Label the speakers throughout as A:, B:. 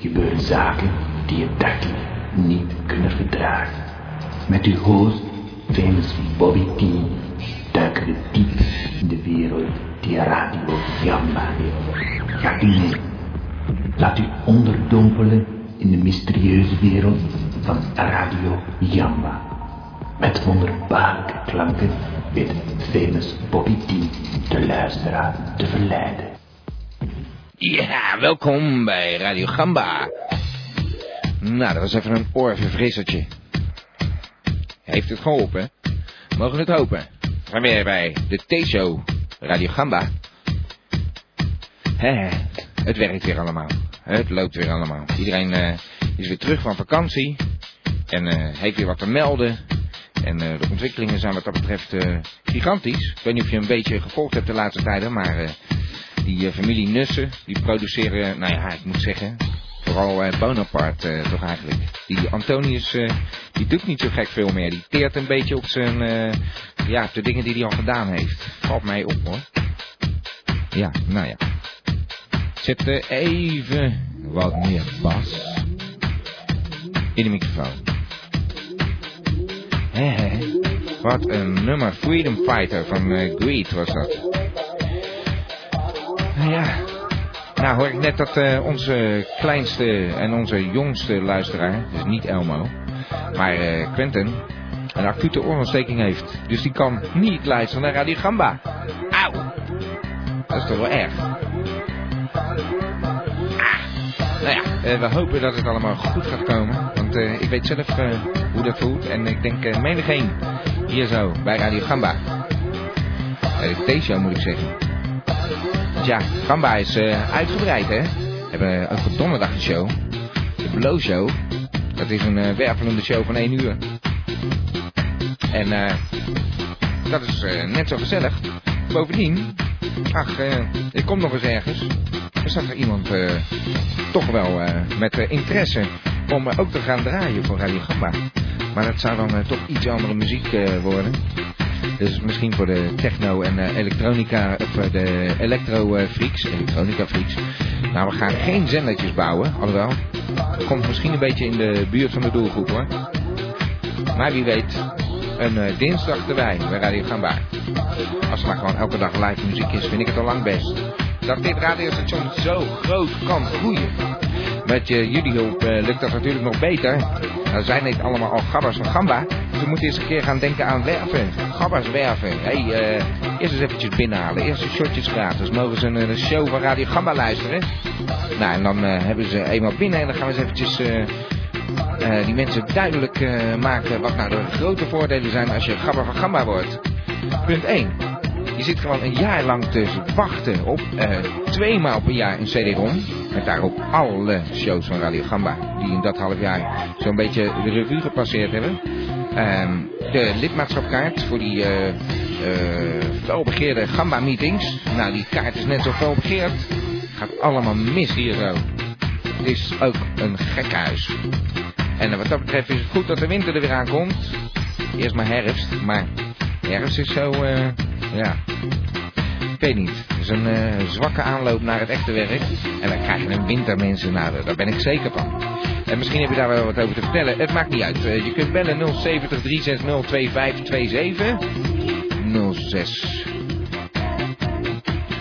A: gebeuren zaken die je dagelijks niet kunnen verdragen. Met uw host, famous Bobby T, duiken we diep in de wereld die Radio Jamba heeft. Gaat u mee. Laat u onderdompelen in de mysterieuze wereld van Radio Jamba. Met wonderbaarlijke klanken weet famous Bobby T de luisteraar te verleiden.
B: Ja, welkom bij Radio Gamba. Nou, dat was even een oorverfrissertje. Heeft het geholpen? Mogen we het hopen? We zijn weer bij de T-show Radio Gamba. Hè, het werkt weer allemaal. Het loopt weer allemaal. Iedereen eh, is weer terug van vakantie. En eh, heeft weer wat te melden. En eh, de ontwikkelingen zijn wat dat betreft eh, gigantisch. Ik weet niet of je een beetje gevolgd hebt de laatste tijden, maar... eh, die eh, familie Nussen, die produceren, nou ja, ik moet zeggen, vooral eh, Bonaparte eh, toch eigenlijk. Die Antonius, eh, die doet niet zo gek veel meer. Die teert een beetje op zijn, eh, ja, op de dingen die hij al gedaan heeft. Valt mij op hoor. Ja, nou ja. Zet eh, even wat meer bas in de microfoon. Hé, hé. Wat een nummer. Freedom Fighter van eh, Greed was dat. Ja. Nou hoor ik net dat eh, onze kleinste en onze jongste luisteraar, dus niet Elmo, maar eh, Quentin, een acute oorontsteking heeft. Dus die kan niet luisteren naar Radio Gamba. Auw! Dat is toch wel erg. Nou ja, eh, we hopen dat het allemaal goed gaat komen. Want eh, ik weet zelf eh, hoe dat voelt. En ik denk eh menigeen hier zo bij Radio Gamba. Bij de T-show moet ik zeggen. Ja, Gamba is eh, uitgebreid, hè? We hebben ook op donderdag een show. De Blow Show. Dat is een eh, wervelende show van 1 uur. En eh, dat is eh, net zo gezellig. Bovendien, ach, eh ik kom nog eens ergens. Er staat er iemand eh, toch wel eh, met eh, interesse om eh, ook te gaan draaien voor Radio Gamba. Maar dat zou dan eh, toch iets andere muziek eh, worden. Dus misschien voor de techno en eh, elektronica, of eh, de electro eh, freaks, elektronica freaks. Nou, we gaan geen zendertjes bouwen, alhoewel. Dat komt misschien een beetje in de buurt van de doelgroep hoor. Maar wie weet, een eh, dinsdag erbij bij Radio Gamba. Als er maar gewoon elke dag live muziek is, vind ik het al lang best. Dat dit radiostation zo groot kan groeien. Met eh, jullie hulp eh, lukt dat natuurlijk nog beter. Nou zijn dit allemaal al gabbers van Gamba. Dus we moeten eens een keer gaan denken aan werven. Gabbers werven. Hé, hey, eh, eerst eens eventjes binnenhalen. Eerst de shotjes gratis. Mogen ze een, een show van Radio Gamba luisteren? Nou, en dan eh, hebben ze eenmaal binnen en dan gaan we eens eventjes... eh, eh, die mensen duidelijk eh, maken wat nou de grote voordelen zijn als je gabber van gamma wordt. Punt 1. Je zit gewoon een jaar lang te wachten op eh, twee maal per jaar een CD-ROM. Met daarop alle shows van Radio Gamba. Die in dat half jaar zo'n beetje de revue gepasseerd hebben. Ehm, de lidmaatschapkaart voor die eh eh, felbegeerde Gamba-meetings. Nou, die kaart is net zo felbegeerd. Gaat allemaal mis hier zo. Het is ook een gek huis. En wat dat betreft is het goed dat de winter er weer aankomt. Eerst maar herfst, maar herfst is zo, eh, ja, ik weet niet. Het is een eh, zwakke aanloop naar het echte werk. En dan krijg je een winter, mensen. Nou, daar ben ik zeker van. En misschien heb je daar wel wat over te vertellen. Het maakt niet uit. Eh, je kunt bellen 070 360 2527. 06.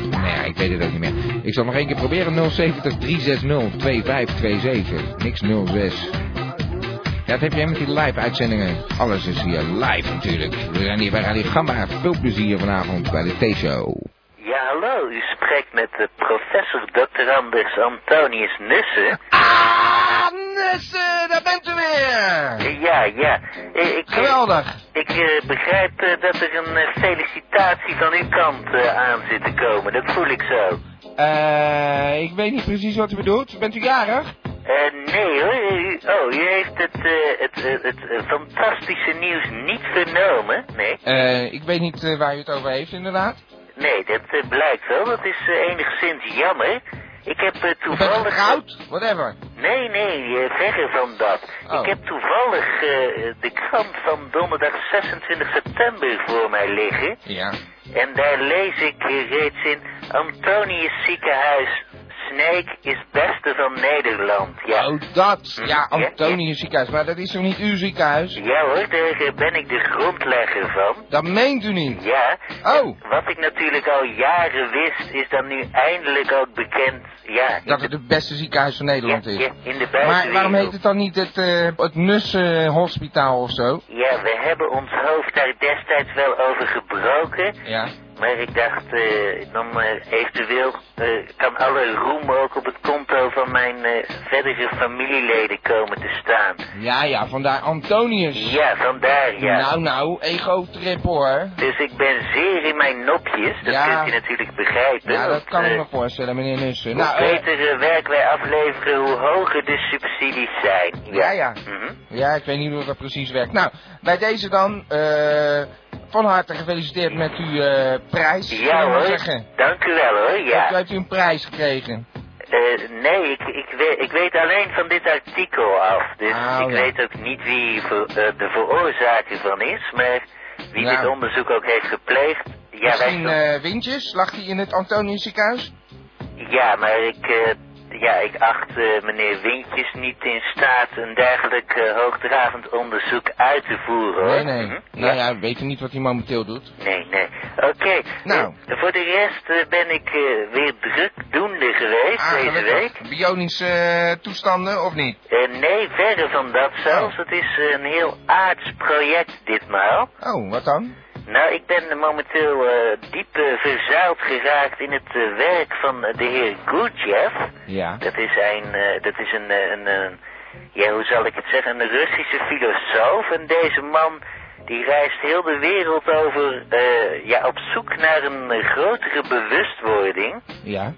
B: Nou ja, ik weet het ook niet meer. Ik zal nog één keer proberen. 070 360 2527. Niks 06. Ja, dat heb jij met die live uitzendingen. Alles is hier live natuurlijk. We zijn hier bij Radio Gamba. Veel plezier vanavond bij de T-show.
C: Ja, hallo. U spreekt met de professor Dr. Anders Antonius Nussen.
D: Ah, Nussen, daar bent u weer!
C: Eh, Ja, ja. Eh, Ik, eh,
D: Geweldig.
C: Ik eh, begrijp eh, dat er een eh, felicitatie van uw kant eh, aan zit te komen. Dat voel ik zo.
D: Eh, ik weet niet precies wat u bedoelt. Bent u jarig?
C: Eh, nee hoor. Eh, u- Oh, u heeft het, eh, het, eh, het, eh, fantastische nieuws niet vernomen. Nee,
D: Eh, ik weet niet eh, waar u het over heeft, inderdaad.
C: nee dat eh, blijkt wel. Dat is eh, enigszins jammer. Ik heb eh,
D: U bent
C: toevallig...
D: getrouwd? Whatever.
C: Nee, nee, eh, verre van dat.
D: Oh.
C: Ik heb toevallig eh, de krant van donderdag 26 september voor mij liggen.
D: Ja.
C: En daar lees ik eh, reeds in Antonius ziekenhuis Sneek is beste van Nederland. Ja.
B: Oh, dat. Ja, Antonius ziekenhuis. Maar dat is toch niet uw ziekenhuis?
C: Ja hoor, daar eh, ben ik de grondlegger van.
B: Dat meent u niet.
C: Ja.
B: Oh,
C: Wat ik natuurlijk al jaren wist, is dan nu eindelijk ook bekend. Ja.
B: dat het het beste ziekenhuis van
C: ja,
B: Nederland is.
C: ja, in de
B: Maar
C: buitenwereld.
B: waarom heet het dan niet het, eh het Nussen Hospitaal of zo?
C: Ja, we hebben ons hoofd daar destijds wel over gebroken.
B: Ja.
C: Maar ik dacht, eh, dan eh, eventueel eh, kan alle roem ook op het konto van mijn eh, verdere familieleden komen te staan.
B: Ja, ja, vandaar Antonius.
C: Ja, vandaar ja.
B: Nou, nou, ego-trip hoor.
C: Dus ik ben zeer in mijn nopjes, dat
B: Ja.
C: kunt u natuurlijk begrijpen.
B: Ja, dat
C: want,
B: kan ik
C: eh,
B: me voorstellen, meneer Nussen.
C: Hoe
B: Nou, eh,
C: beter eh, werk wij afleveren, hoe hoger de subsidies zijn.
B: Ja, ja.
C: Mhm.
B: ja, ik weet niet hoe dat precies werkt. Nou, bij deze dan, eh, van harte gefeliciteerd met uw eh, prijs, zullen
C: Ja
B: we maar
C: hoor,
B: zeggen.
C: dank u wel hoor, ja.
B: Heeft, u- heeft u een prijs gekregen?
C: Eh, nee, ik, ik, weet, ik weet alleen van dit artikel af. Dus
B: Ah,
C: ik
B: ja.
C: weet ook niet wie voor, eh, de veroorzaker van is, maar wie
B: Nou.
C: dit onderzoek ook heeft gepleegd. Ja, wij,
B: Misschien eh Windjes? Lag hij in het Antonius ziekenhuis?
C: ja maar ik, eh, ja, ik acht eh, meneer Windjes niet in staat een dergelijk eh, hoogdravend onderzoek uit te voeren. hoor.
B: Nee, nee.
C: Mhm.
B: Nou ja, we weten niet wat hij momenteel doet.
C: Nee, nee. Oké.
B: Nou.
C: eh, voor de rest eh, ben ik eh, weer drukdoende geweest deze
B: Ah, gelukkig.
C: week.
B: Bionische eh, toestanden, of niet?
C: Eh, nee, verre van dat zelfs. Het is eh, een heel aards project ditmaal.
B: Oh, wat dan?
C: Nou, ik ben momenteel eh, diep eh, verzuild geraakt in het eh, werk van eh, de heer Gurdjieff.
B: Ja.
C: Dat is een, eh, dat is een, eh, een, eh, ja, hoe zal ik het zeggen, een Russische filosoof. En deze man, die reist heel de wereld over, eh, ja, op zoek naar een eh, grotere bewustwording.
B: Ja.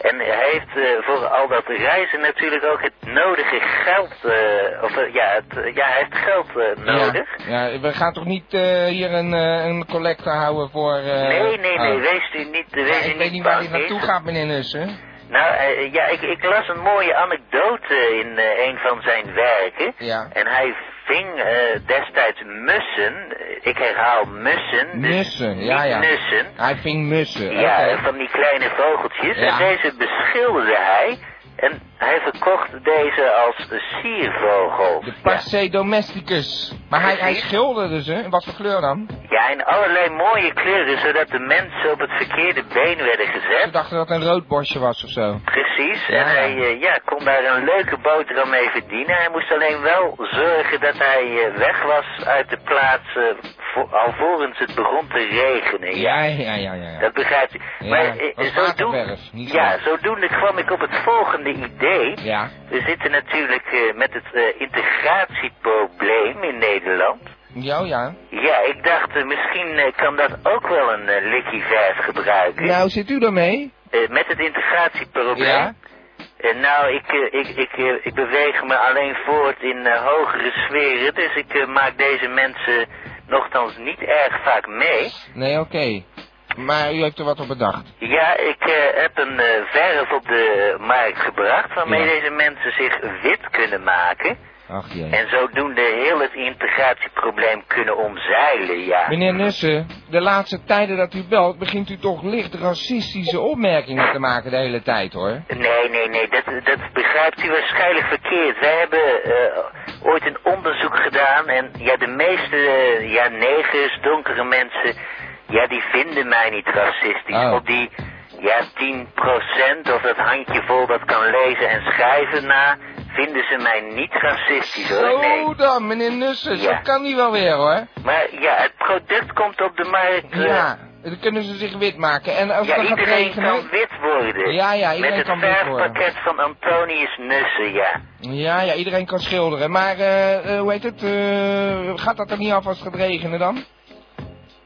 C: En hij heeft eh, voor al dat reizen natuurlijk ook het nodige geld, eh, of eh, ja, het, eh, ja, hij heeft geld eh, nodig.
B: Ja. ja, we gaan toch niet eh, hier een, eh, een collecte houden voor... eh,
C: nee, nee, nee,
B: oh.
C: wees u niet,
B: Ja,
C: wees u
B: ik weet niet waar
C: bang.
B: dit naartoe gaat, meneer Nussen.
C: Nou, eh, ja, ik, ik las een mooie anekdote in eh, een van zijn werken.
B: Ja.
C: En hij ving eh, destijds mussen, eh, ik herhaal mussen. dus
B: Nussen, ja,
C: niet
B: ja.
C: Nussen.
B: Hij ving mussen.
C: Ja,
B: oké.
C: van die kleine vogeltjes.
B: Ja.
C: En deze beschilderde hij. En hij verkocht deze als siervogel.
B: De Parse domesticus. Maar hij, hij
C: Precies.
B: schilderde ze. In wat voor kleur dan?
C: Ja, in allerlei mooie kleuren, zodat de mensen op het verkeerde been werden
B: Ze
C: gezet.
B: dachten dat het een rood borstje was of zo.
C: Precies.
B: Ja.
C: En hij eh, ja, kon daar een leuke boterham mee verdienen. Hij moest alleen wel zorgen dat hij eh, weg was uit de plaats eh, vo- alvorens het begon te regenen.
B: Ja, ja, ja, ja. ja.
C: Dat begrijp ik.
B: Ja,
C: maar eh,
B: dat is
C: zodoen-
B: waterverf, niet
C: ja,
B: waar.
C: zodoende kwam ik op het volgende idee.
B: Ja.
C: We zitten natuurlijk eh, met het eh, integratieprobleem in Nederland.
B: Ja, ja.
C: Ja, ik dacht eh, misschien eh, kan dat ook wel een eh, likkie verf gebruiken.
B: Nou, zit u daarmee?
C: Eh, met het integratieprobleem.
B: Ja.
C: Eh, nou, ik, eh, ik, ik, eh, ik beweeg me alleen voort in eh, hogere sferen, dus ik eh, maak deze mensen nogthans niet erg vaak mee.
B: Nee, oké. Maar u heeft er wat op bedacht.
C: Ja, ik eh, heb een eh, verf op de markt gebracht waarmee
B: Ja.
C: deze mensen zich wit kunnen maken.
B: Ach jee.
C: En zodoende heel het integratieprobleem kunnen omzeilen, ja.
B: Meneer Nussen, de laatste tijden dat u belt, begint u toch licht racistische opmerkingen te maken de hele tijd hoor.
C: Nee, nee, nee, dat, dat begrijpt u waarschijnlijk verkeerd. Wij hebben eh, ooit een onderzoek gedaan en ja, de meeste eh, ja, negers, donkere mensen, ja, die vinden mij niet racistisch.
B: Oh.
C: Op die ja, 10% of dat handjevol dat kan lezen en schrijven na, vinden ze mij niet racistisch hoor. Nee.
B: Zo dan, meneer Nussen,
C: Ja.
B: zo kan die wel weer hoor.
C: Maar ja, het product komt op de markt. eh,
B: Ja, dan kunnen ze zich wit maken. En als
C: Ja,
B: het dan gaat
C: iedereen
B: regenen...
C: kan wit worden.
B: Ja, ja,
C: Met
B: iedereen
C: het
B: kan wit worden.
C: verfpakket van Antonius Nussen, ja.
B: Ja, ja, iedereen kan schilderen. Maar, eh, eh, hoe heet het, eh, gaat dat er niet af als het gaat regenen dan?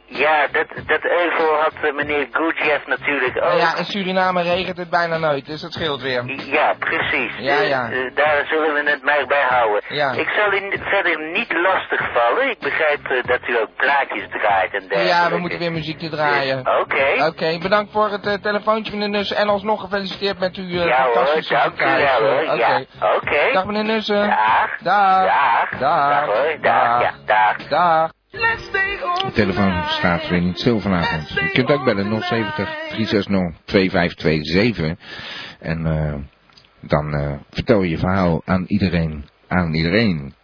C: Ja, dat, dat euvel had eh, meneer Gurdjieff natuurlijk ook.
B: Nou ja, in Suriname regent het bijna nooit, dus dat scheelt weer.
C: Oh. Ja, precies.
B: Ja,
C: Eh,
B: ja.
C: eh, daar zullen we het maar bij houden.
B: Ja.
C: Ik zal u n- verder niet lastig vallen. Ik begrijp eh, dat u ook plaatjes draait en dergelijke.
B: Ja, we moeten weer muziek te draaien.
C: Dus, Oké.
B: Oké, bedankt voor het eh, telefoontje meneer Nussen. En alsnog gefeliciteerd met uw eh,
C: Ja hoor,
B: fantastische
C: dank u
B: ziekenhuis,
C: wel
B: eh,
C: hoor.
B: Oké.
C: Ja, oké.
B: Dag meneer Nussen.
C: Dag.
B: Dag.
C: Dag.
B: Dag.
C: Dag hoor. Dag. Ja, dag.
B: Dag.
E: Leuk
B: De telefoon staat weer niet stil vanavond. Je kunt ook bellen 070 360 2527. En eh, dan eh, vertel je verhaal aan iedereen. Aan iedereen.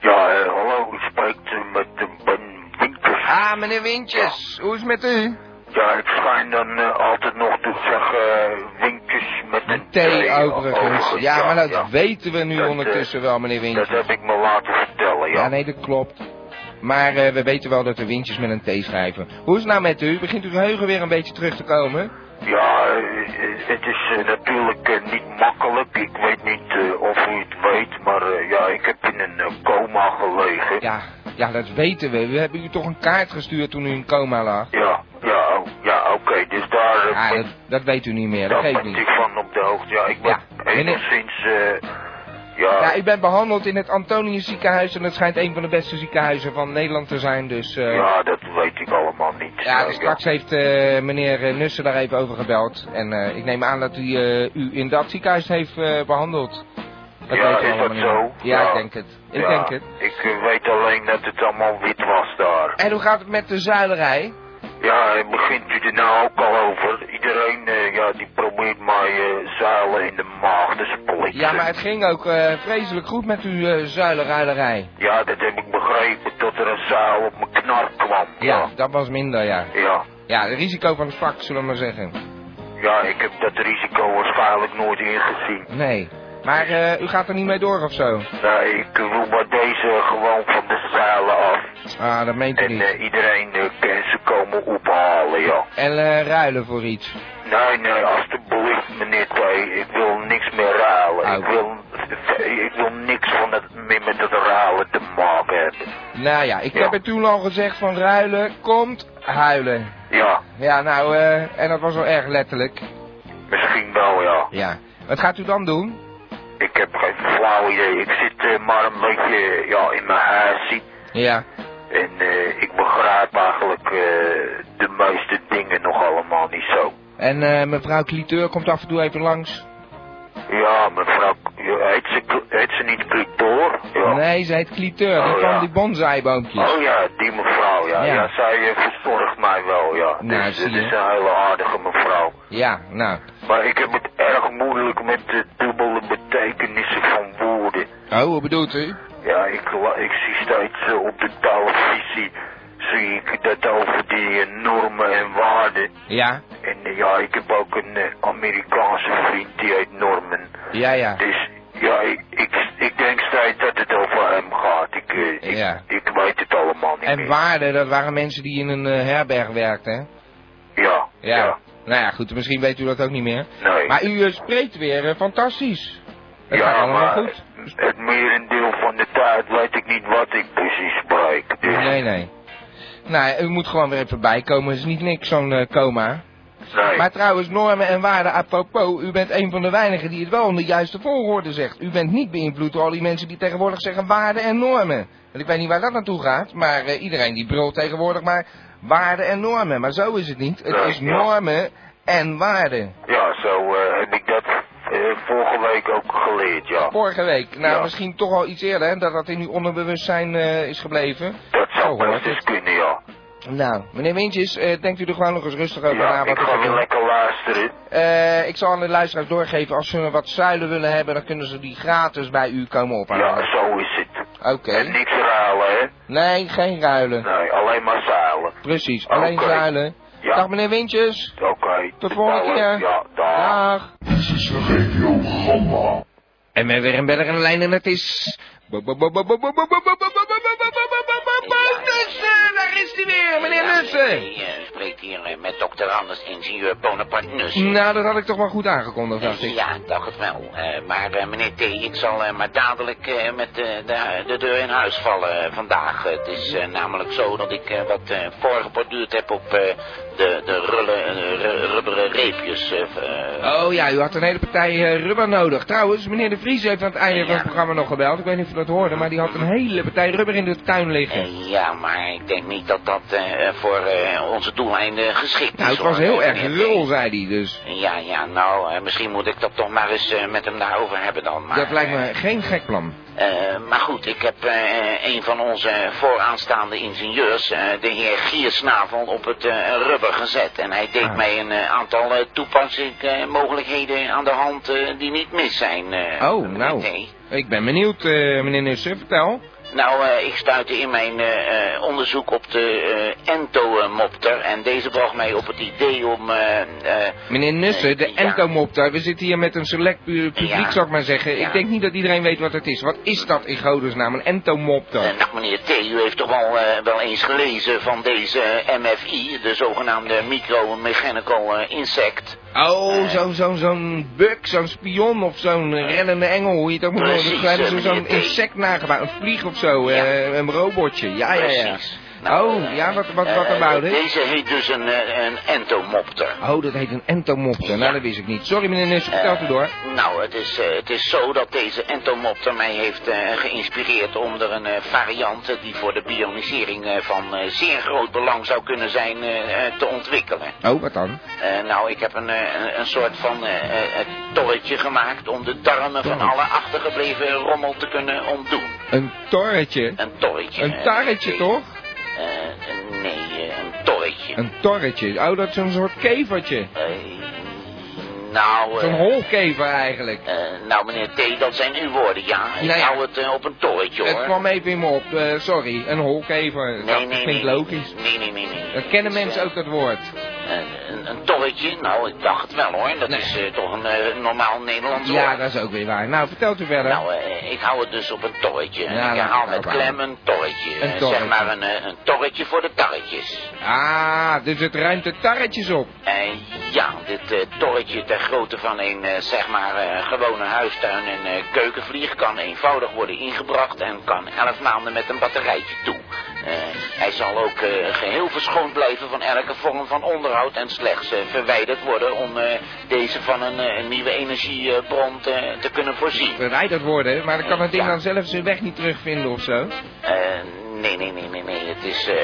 F: Ja, eh, hallo, u spreekt eh, met de Ben Winkers.
B: Ah, meneer Wintjes, hoe is het met u?
F: Ja, ik schijn dan eh, altijd nog te zeggen eh, Winkers met een
B: T overigens.
F: overigens.
B: Ja, maar dat
F: oh, ja.
B: weten we nu
F: Dat, eh,
B: ondertussen wel, meneer
F: Dat
B: Wintjes.
F: heb ik me laten vertellen, ja.
B: Ja, nee, dat klopt. Maar eh, we weten wel dat de Wintjes met een T schrijven. Hoe is het nou met u? Begint uw geheugen weer een beetje terug te komen?
F: Ja, eh, eh, het is eh, natuurlijk eh, niet makkelijk. Ik weet niet eh, of u het weet, maar eh, ja, ik heb in een eh, coma gelegen.
B: Ja, ja, dat weten we. We hebben u toch een kaart gestuurd toen u in coma lag?
F: Ja, ja, oh, ja oké, dus daar eh,
B: Ja,
F: ben-
B: dat, dat weet u niet meer. Dat
F: daar
B: geeft
F: ben
B: niet.
F: ik van op de hoogte. Ja, ik ben
B: Ja, meneer-
F: enigszins, eh, ja,
B: Ja, u bent behandeld in het Antonius ziekenhuis en dat schijnt een van de beste ziekenhuizen van Nederland te zijn. Dus eh,
F: ja, dat weet ik allemaal niet.
B: ja,
F: Nou,
B: dus straks heeft eh, meneer eh, Nussen daar even over gebeld. En eh, ik neem aan dat u, eh, u in dat ziekenhuis heeft eh, behandeld. Dat
F: Ja,
B: weten we
F: is dat
B: allemaal niet.
F: zo?
B: Ja,
F: Ja.
B: ik denk het. Ik
F: ja,
B: denk het.
F: Ik eh, weet alleen dat het allemaal wit was daar.
B: En hoe gaat het met de zuilerij?
F: Ja, eh, begint u er nou ook al over? Iedereen, eh, ja, die probeert mij eh, zuilen in de maag te splitsen.
B: Ja, maar het ging ook eh, vreselijk goed met uw eh zuilenruilerij.
F: Ja, dat heb ik begrepen, tot er een zuil op mijn knar kwam.
B: ja, dat was minder, ja.
F: Ja,
B: Ja, het risico van het vak, zullen we maar zeggen.
F: ja ik heb dat risico waarschijnlijk nooit ingezien.
B: Nee. Maar eh, u gaat er niet mee door of zo?
F: Nee, ik wil maar deze gewoon van de zeilen af.
B: Ah, dat meent u
F: En
B: niet.
F: eh, iedereen eh, kan ze komen ophalen, ja.
B: En eh, ruilen voor iets.
F: Nou, Nee, nee, alstublieft, meneer T. Ik wil niks meer ruilen.
B: Au.
F: Ik, wil, ik wil niks van het, meer met het ruilen te maken hebben.
B: Nou ja, ik
F: Ja.
B: heb het toen al gezegd van ruilen komt huilen.
F: Ja,
B: Ja, nou, eh, en dat was wel erg letterlijk.
F: misschien wel, ja.
B: Ja. Wat gaat u dan doen?
F: Ik heb geen flauw idee. Ik zit eh, maar een beetje ja, in mijn huisje.
B: Ja.
F: En eh, ik begrijp eigenlijk eh, de meeste dingen nog allemaal niet zo.
B: En eh, mevrouw Cliteur komt af en toe even langs.
F: Ja, mevrouw, ja, heet ze, heet ze niet Clitor? Ja.
B: Nee, ze heet Cliteur, die
F: Oh,
B: van
F: ja.
B: die bonsaiboompjes.
F: Oh ja, die mevrouw, ja.
B: Ja.
F: Ja, zij eh, verzorgt mij wel, ja.
B: Nou,
F: dus,
B: zie
F: het
B: je.
F: is een hele aardige mevrouw.
B: Ja, nou.
F: Maar ik heb het erg moeilijk met de dubbele betekenissen van woorden.
B: Oh, hoe bedoelt u?
F: Ja, ik, la- ik zie steeds eh, op de televisie zie ik dat over die eh, normen en waarden.
B: Ja.
F: En eh, ja, ik heb ook een eh, Amerikaanse vriend die heet Norman.
B: Ja, ja.
F: Dus ja, ik, ik, ik denk steeds dat het over hem gaat. Ik, eh, ik,
B: Ja.
F: ik weet het allemaal niet
B: En
F: meer.
B: waarden, dat waren mensen die in een eh, herberg werkten, hè?
F: Ja, ja.
B: Ja. Nou ja, goed, misschien weet u dat ook niet meer.
F: Nee.
B: Maar u eh, spreekt weer eh, fantastisch. Dat
F: ja,
B: gaat allemaal
F: maar
B: goed.
F: het merendeel van de tijd weet ik niet wat ik precies spreek. Dus,
B: Nee, nee. Nou, u moet gewoon weer even bijkomen. Het is niet niks, zo'n eh, coma.
F: nee.
B: Maar trouwens, normen en waarden apropos. U bent een van de weinigen die het wel in de juiste volgorde zegt. U bent niet beïnvloed door al die mensen die tegenwoordig zeggen waarden en normen. Want ik weet niet waar dat naartoe gaat, maar eh, iedereen die brult tegenwoordig maar waarden en normen. Maar zo is het niet. Het
F: Nee,
B: is
F: ja.
B: normen en waarden.
F: Ja, zo eh, heb ik dat eh, vorige week ook geleerd, ja.
B: Vorige week, nou
F: Ja.
B: misschien toch al iets eerder, hè, dat dat in uw onderbewustzijn eh, is gebleven.
F: Dat
B: Zo
F: zou
B: hoort
F: best eens
B: Oh, het.
F: kunnen, ja.
B: Nou, meneer Wintjes, eh, denkt u er gewoon nog eens rustig over
F: Ja,
B: na wat
F: ik
B: er
F: ga weer
B: gebeurt?
F: lekker luisteren.
B: Eh, ik zal aan de luisteraars doorgeven, als ze wat zuilen willen hebben, dan kunnen ze die gratis bij u komen ophalen.
F: Ja, zo is het.
B: Oké.
F: En niks ruilen, hè?
B: Nee, geen ruilen.
F: Nee, alleen maar zeilen.
B: Precies,
F: Oké.
B: alleen zuilen.
F: Ja.
B: Dag meneer Wintjes.
F: Oké.
B: Tot volgende keer.
F: Ja, dag.
B: Dag.
G: Regio Gamma.
B: En we hebben weer een beller in de lijn en dat is... Nussen, daar is hij weer, meneer Nussen.
E: Je spreekt hier eh, met dokter Anders, ingenieur Bonaparte Nussen.
B: Nou, dat had ik toch maar goed aangekondigd, dacht ik.
E: Ja, ik dacht het wel. Eh, maar eh, meneer T, ik zal eh, maar dadelijk eh, met eh, de, de deur in huis vallen eh, vandaag. Het is eh, namelijk zo dat ik eh, wat eh, voorgeborduurd heb op eh, de, de rullen, eh, ru- rubberen reepjes. eh, v- eh,
B: Oh ja, u had een hele partij eh, rubber nodig. Trouwens, meneer de Vries heeft aan het einde van het
E: Ja.
B: programma nog gebeld. Ik weet niet of u dat hoorde, maar die had een hele partij rubber in de tuin liggen.
E: eh, ja, maar ik denk niet dat dat eh, voor eh, onze doeleinden eh, geschikt
B: Nou,
E: is.
B: het was
E: hoor,
B: heel
E: eh,
B: erg
E: meneer T.
B: lul, zei hij dus.
E: Ja, ja, nou, eh, misschien moet ik dat toch maar eens eh, met hem daarover hebben dan. Maar,
B: Dat lijkt me geen gek plan.
E: eh, maar goed, ik heb eh, een van onze vooraanstaande ingenieurs, eh, de heer Giersnavel, op het eh, rubber gezet. En hij deed
B: Ah.
E: mij een eh, aantal eh, toepassingsmogelijkheden aan de hand eh, die niet mis zijn. eh,
B: Oh,
E: meneer
B: nou.
E: T.
B: Ik ben benieuwd, eh, meneer Nussen, vertel.
E: Nou, eh, ik stuitte in mijn eh, eh, onderzoek op de eh entomopter en deze bracht mij op het idee om... eh, eh,
B: Meneer Nussen, de
E: Ja.
B: entomopter, we zitten hier met een select pu- publiek,
E: Ja.
B: zou ik maar zeggen.
E: Ja.
B: Ik denk niet dat iedereen weet wat het is. Wat is dat in godesnaam, een entomopter?
E: Eh, nou, meneer T, u heeft toch wel, eh, wel eens gelezen van deze eh, MFI, de zogenaamde Micro-Mechanical eh, Insect.
B: Oh, zo'n zo, zo'n buk, zo'n spion of zo'n eh, reddende engel, hoe je het ook moet noemen.
E: Precies,
B: Dus wij hebben
E: eh,
B: zo- Zo'n
E: meneer T.
B: insect nagebouwd, een vlieg of zo,
E: Ja.
B: eh, een robotje. Ja, ja, ja.
E: Precies.
B: Oh,
E: eh,
B: ja, wat- wat- wat
E: eh,
B: about it?
E: Deze heet dus een, eh, een entomopter.
B: Oh, dat heet een entomopter. Nou,
E: Ja.
B: dat wist ik niet. Sorry, meneer Nussen, vertel
E: Eh,
B: u door.
E: Nou, het is, eh, het is zo dat deze entomopter mij heeft eh, geïnspireerd om er een eh, variant eh, die voor de bionisering eh, van eh, zeer groot belang zou kunnen zijn eh, eh, te ontwikkelen.
B: Oh, wat dan?
E: Eh, nou, ik heb een, eh, een- een soort van eh, eh, eh, torretje gemaakt om de darmen van
B: Oh.
E: alle achtergebleven rommel te kunnen ontdoen.
B: Een torretje.
E: Een torretje.
B: Een
E: eh,
B: tarretje,
E: eh,
B: toch?
E: eh, eh, nee, eh, een torretje.
B: Een torretje. Oh, dat is een soort kevertje.
E: Eh, nou... eh,
B: Zo'n holkever eigenlijk.
E: eh, nou, meneer T, dat zijn uw woorden, ja. Ik
B: Nou ja.
E: hou het eh, op een torretje,
B: Het
E: hoor.
B: kwam even in me op. eh, sorry, een holkever. dat
E: nee, nee,
B: klinkt
E: nee.
B: logisch.
E: Nee, nee, nee, nee.
B: Dat kennen
E: Het is,
B: mensen
E: eh,
B: ook, dat woord.
E: Een, een- een torretje? Nou, ik dacht het wel, hoor. Dat
B: Nee.
E: is eh, toch een eh, normaal Nederlands
B: Ja,
E: woord.
B: dat is ook weer waar. Nou, vertelt u verder.
E: Nou, eh, ik hou het dus op een torretje.
B: Ja,
E: ik
B: laat
E: haal
B: het
E: met
B: erop
E: klem een torretje.
B: Een
E: Eh,
B: torretje.
E: Zeg maar een, eh, een torretje voor de tarretjes.
B: Ah, dus het ruimt de tarretjes op.
E: En ja, dit eh, torretje ter grootte van een eh, zeg maar eh, gewone huistuin en eh, keukenvlieg kan eenvoudig worden ingebracht en kan 11 maanden met een batterijtje toe. Eh, hij zal ook eh, geheel verschoond blijven van elke vorm van onderhoud en slechts eh, verwijderd worden om eh, deze van een, eh, nieuwe energiebron te, te kunnen voorzien.
B: Verwijderd worden, maar dan kan het ding
E: Ja.
B: dan zelf zijn weg niet terugvinden of zo.
E: Eh, nee, nee, nee, nee, nee. Het is, eh,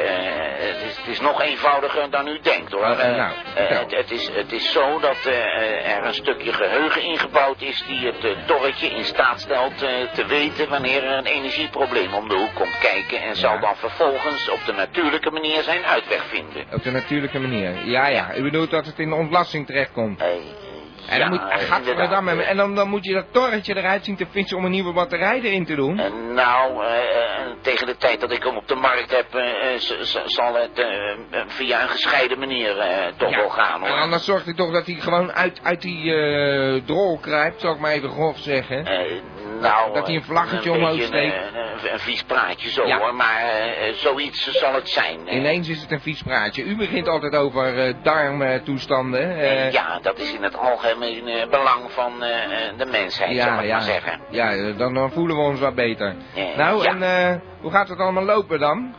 E: het is, het is nog eenvoudiger dan u denkt, hoor.
B: Oh, eh,
E: Eh,
B: nou,
E: eh,
B: vertel.
E: het, het is, het is zo dat eh, eh, er een stukje geheugen ingebouwd is die het eh, torretje in staat stelt eh, te weten wanneer er een energieprobleem om de hoek komt kijken en zal dan vervolgens op de natuurlijke manier zijn uitweg vinden.
B: Op de natuurlijke manier. Ja, ja. U bedoelt dat het in de ontlasting terechtkomt.
E: Eh,
B: En
E: ja,
B: dan, moet, ah,
E: eh,
B: gadverdamme,
E: inderdaad.
B: en dan, dan moet je dat torretje eruit zien te fietsen om een nieuwe batterij erin te doen.
E: Eh, nou, eh, eh, tegen de tijd dat ik hem op de markt heb, eh, eh, z- z- zal het eh, eh, via een gescheiden manier eh, toch
B: Ja,
E: wel gaan hoor.
B: Maar anders zorgt hij toch dat hij gewoon uit, uit die eh drol kruipt, zal ik maar even grof zeggen.
E: Eh, nou,
B: Dat hij een
E: eh,
B: vlaggetje
E: een
B: omhoog
E: beetje
B: steekt.
E: Een, eh, een vies praatje zo
B: Ja.
E: hoor, maar eh, eh, zoiets zal het zijn. Eh,
B: Ineens is het een vies praatje. U begint altijd over eh darmtoestanden. eh,
E: eh, ja, dat is in het algemeen eh, belang van eh, eh, de mensheid, zal ik maar zeggen.
B: Ja, eh, dan, dan voelen we ons wat beter.
E: Eh,
B: nou,
E: ja.
B: en eh, hoe gaat het allemaal lopen dan?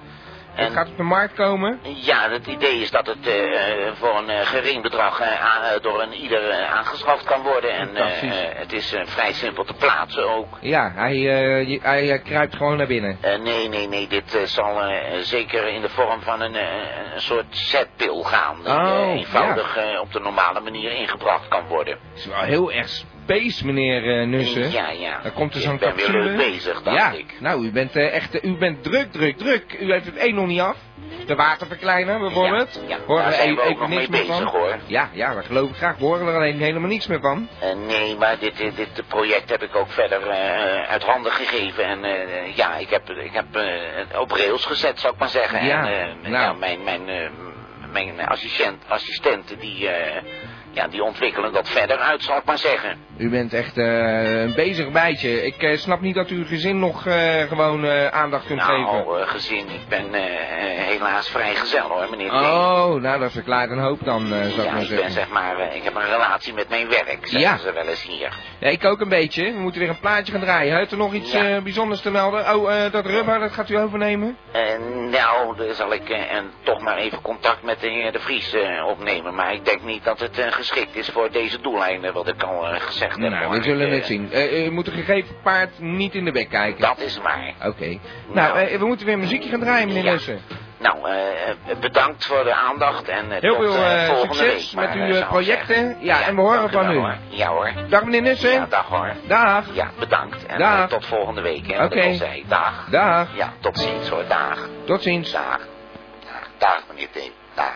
B: Het
E: En-
B: gaat op de markt komen?
E: Ja, het idee is dat het eh, eh, voor een eh, gering bedrag eh, aan- eh, door een ieder eh, aangeschaft kan worden. En eh,
B: Fantastisch.
E: eh, het is eh, vrij simpel te plaatsen ook.
B: Ja, hij, eh, je- hij eh, kruipt gewoon naar binnen.
E: Eh, nee, nee, nee, dit eh, zal eh, zeker in de vorm van een, eh, een soort zetpil gaan. Die eh,
B: Oh,
E: eenvoudig eh, op de normale manier ingebracht kan worden.
B: Het is wel Oh, heel e- erg space, meneer eh, Nussen.
E: Ja, ja.
B: Dan komt er
E: Ik
B: zo'n
E: ben
B: capsule.
E: weer leuk bezig, dacht
B: ja.
E: ik.
B: Nou, u bent eh, echt, eh, u bent druk, druk, druk. U heeft het één nog niet af. De waterverkleiner bijvoorbeeld.
E: Ja, ja.
B: Horen
E: Daar
B: we
E: zijn
B: e-
E: we ook
B: even
E: nog
B: niks
E: mee
B: meer
E: bezig,
B: van.
E: hoor.
B: Ja, ja, dat geloof ik graag. We horen er alleen helemaal niks meer van.
E: Eh, nee, maar dit, dit, dit project heb ik ook verder eh, uit handen gegeven. En eh, ja, ik heb, ik heb eh, het op rails gezet, zou ik maar zeggen.
B: Ja,
E: en eh,
B: nou.
E: ja, mijn, mijn, eh, mijn assistent, assistenten die, eh, ja, die ontwikkelen dat verder uit, zal ik maar zeggen.
B: U bent echt eh, een bezig bijtje. Ik eh, snap niet dat u uw gezin nog eh, gewoon eh, aandacht kunt geven.
E: Nou, eh, gezien, ik ben eh, eh, helaas vrijgezel hoor, meneer. Deen.
B: Oh, nou dat verklaart een hoop dan, eh, zou ik
E: ja,
B: maar
E: ik ben
B: zeggen.
E: zeg maar, eh, ik heb een relatie met mijn werk, zeggen
B: Ja.
E: ze wel eens hier.
B: Ja, ik ook een beetje. We moeten weer een plaatje gaan draaien. Heeft er nog iets
E: Ja.
B: eh, bijzonders te melden? Oh, eh, dat rubber, dat gaat u overnemen?
E: Eh, nou, dan zal ik eh, en toch maar even contact met de heer De Vries eh, opnemen. Maar ik denk niet dat het eh, geschikt is voor deze doeleinden, wat ik al eh, gezegd heb.
B: nou,
E: hoor.
B: we zullen
E: Eh,
B: het zien. Eh, u moet een gegeven paard niet in de bek kijken.
E: Dat is waar.
B: Oké. Nou,
E: Nou.
B: eh, we moeten weer muziekje gaan draaien, meneer
E: Ja.
B: Nussen.
E: Nou, eh, eh, bedankt voor de aandacht en eh,
B: Heel
E: tot,
B: veel
E: eh,
B: eh,
E: volgende
B: succes
E: week, maar,
B: met
E: eh,
B: uw
E: zou
B: eh,
E: ik
B: projecten.
E: zeggen.
B: Ja, en we horen
E: dank u
B: van
E: wel,
B: u.
E: hoor. Ja hoor.
B: Dag meneer
E: Ja,
B: Nussen.
E: dag hoor.
B: Dag.
E: Ja, bedankt. En
B: Dag.
E: eh, tot volgende week, hè, wat
B: Oké.
E: ik al zei. Dag.
B: Dag.
E: Ja, tot ziens hoor. Dag.
B: Tot ziens.
E: Dag. Dag, dag meneer T. Dag.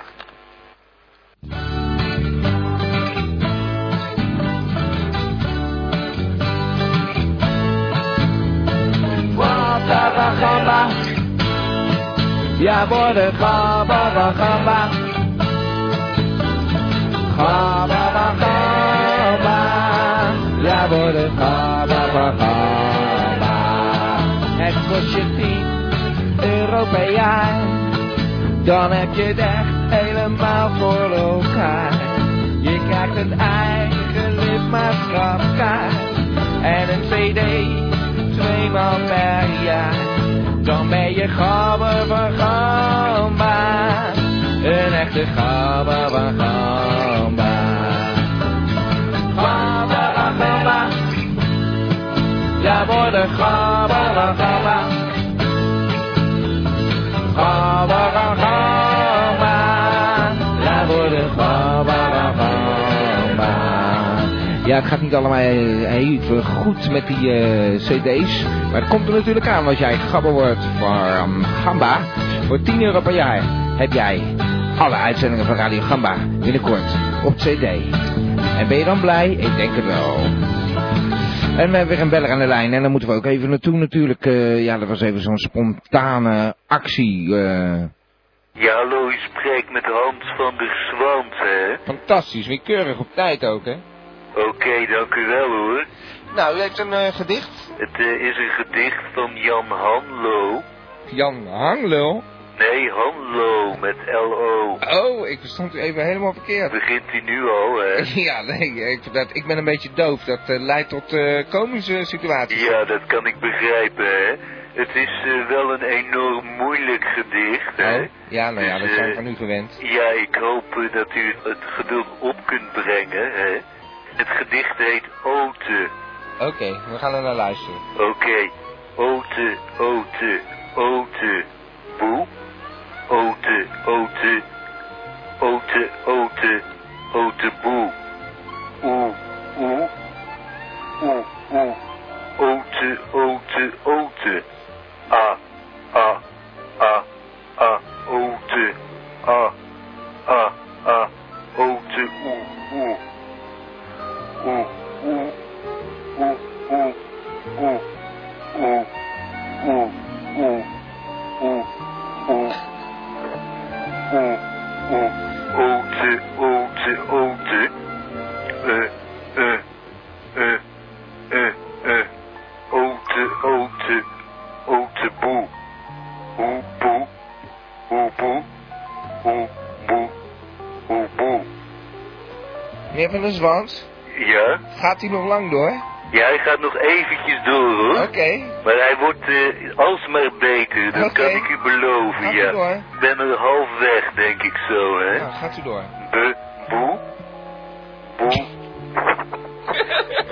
H: Gamba. Ja, worden gamba, gamba. Gamba, gamba. Ja, worden gamba, gamba. Het kost je 10 euro per jaar. Dan heb je het echt helemaal voor elkaar. Je krijgt een eigen lidmaatschapkaart. En een cd, tweemaal per jaar. Dan ben je gabber van gamba. Een echte gabber van gamba. Gamba van gamba. Ja, word een gabber van gamba. Gabber van gamba. Ja, word een gabber van gamba.
B: Ja, het gaat niet allemaal eh, even goed met die eh, cd's. Maar het komt er natuurlijk aan als jij gabber wordt voor ehm, Gamba. Voor 10 euro per jaar heb jij alle uitzendingen van Radio Gamba binnenkort op cd. En ben je dan blij? Ik denk het wel. En we hebben weer een beller aan de lijn. En daar moeten we ook even naartoe natuurlijk. Eh, ja, dat was even zo'n spontane actie. eh.
I: Ja, hallo, u spreekt met Hans van der Zwant, hè?
B: fantastisch. Weer keurig op tijd ook, hè?
I: Oké, dank u wel, hoor.
B: Nou, u heeft een gedicht.
I: Het eh, is een gedicht van Jan Hanlo.
B: Jan Hanglul.
I: Nee, Hanlo, met L-O.
B: Oh, ik verstond u even helemaal verkeerd.
I: Begint hij nu al, hè?
B: Ja, nee, ik, dat, ik ben een beetje doof. Dat eh, leidt tot eh, komische situaties.
I: Ja, dat kan ik begrijpen, hè? Het is eh, wel een enorm moeilijk gedicht, hè?
B: Oh, ja, nou ja, dat
I: Dus,
B: zijn we
I: eh,
B: van u gewend.
I: Ja, ik hoop eh, dat u het geduld op kunt brengen, hè? Het gedicht heet Ote.
B: Oké, we gaan er naar luisteren.
I: Oké. Ote, ote, ote. Boe. Ote, ote. Ote, ote. Ote, boe. Oe, oe. Oe, oe. Ote, ote, ote. A, a, a, a. Ote. A, a, a. Ote, oe, oe. Oe, oe. Oe, oe. Oe, oe, oe, oe, oe, oe. Oe, oe. Ote, ote, ote. Eh, eh, eh, eh, eh. Ote, ote, ote, boe. Oe, boe. Oe, boe. Oe, boe. Oe, boe.
B: Meneer van der Zwans,
I: Ja?
B: gaat u nog lang door?
I: Ja, hij gaat nog eventjes door hoor.
B: Oké,
I: Maar hij wordt eh, alsmaar beter, dat
B: Oké.
I: kan ik u beloven,
B: gaat u
I: ja.
B: door.
I: Ik ben er half weg, denk ik zo, hè.
B: Nou, gaat u door.
I: Be, boe, boe.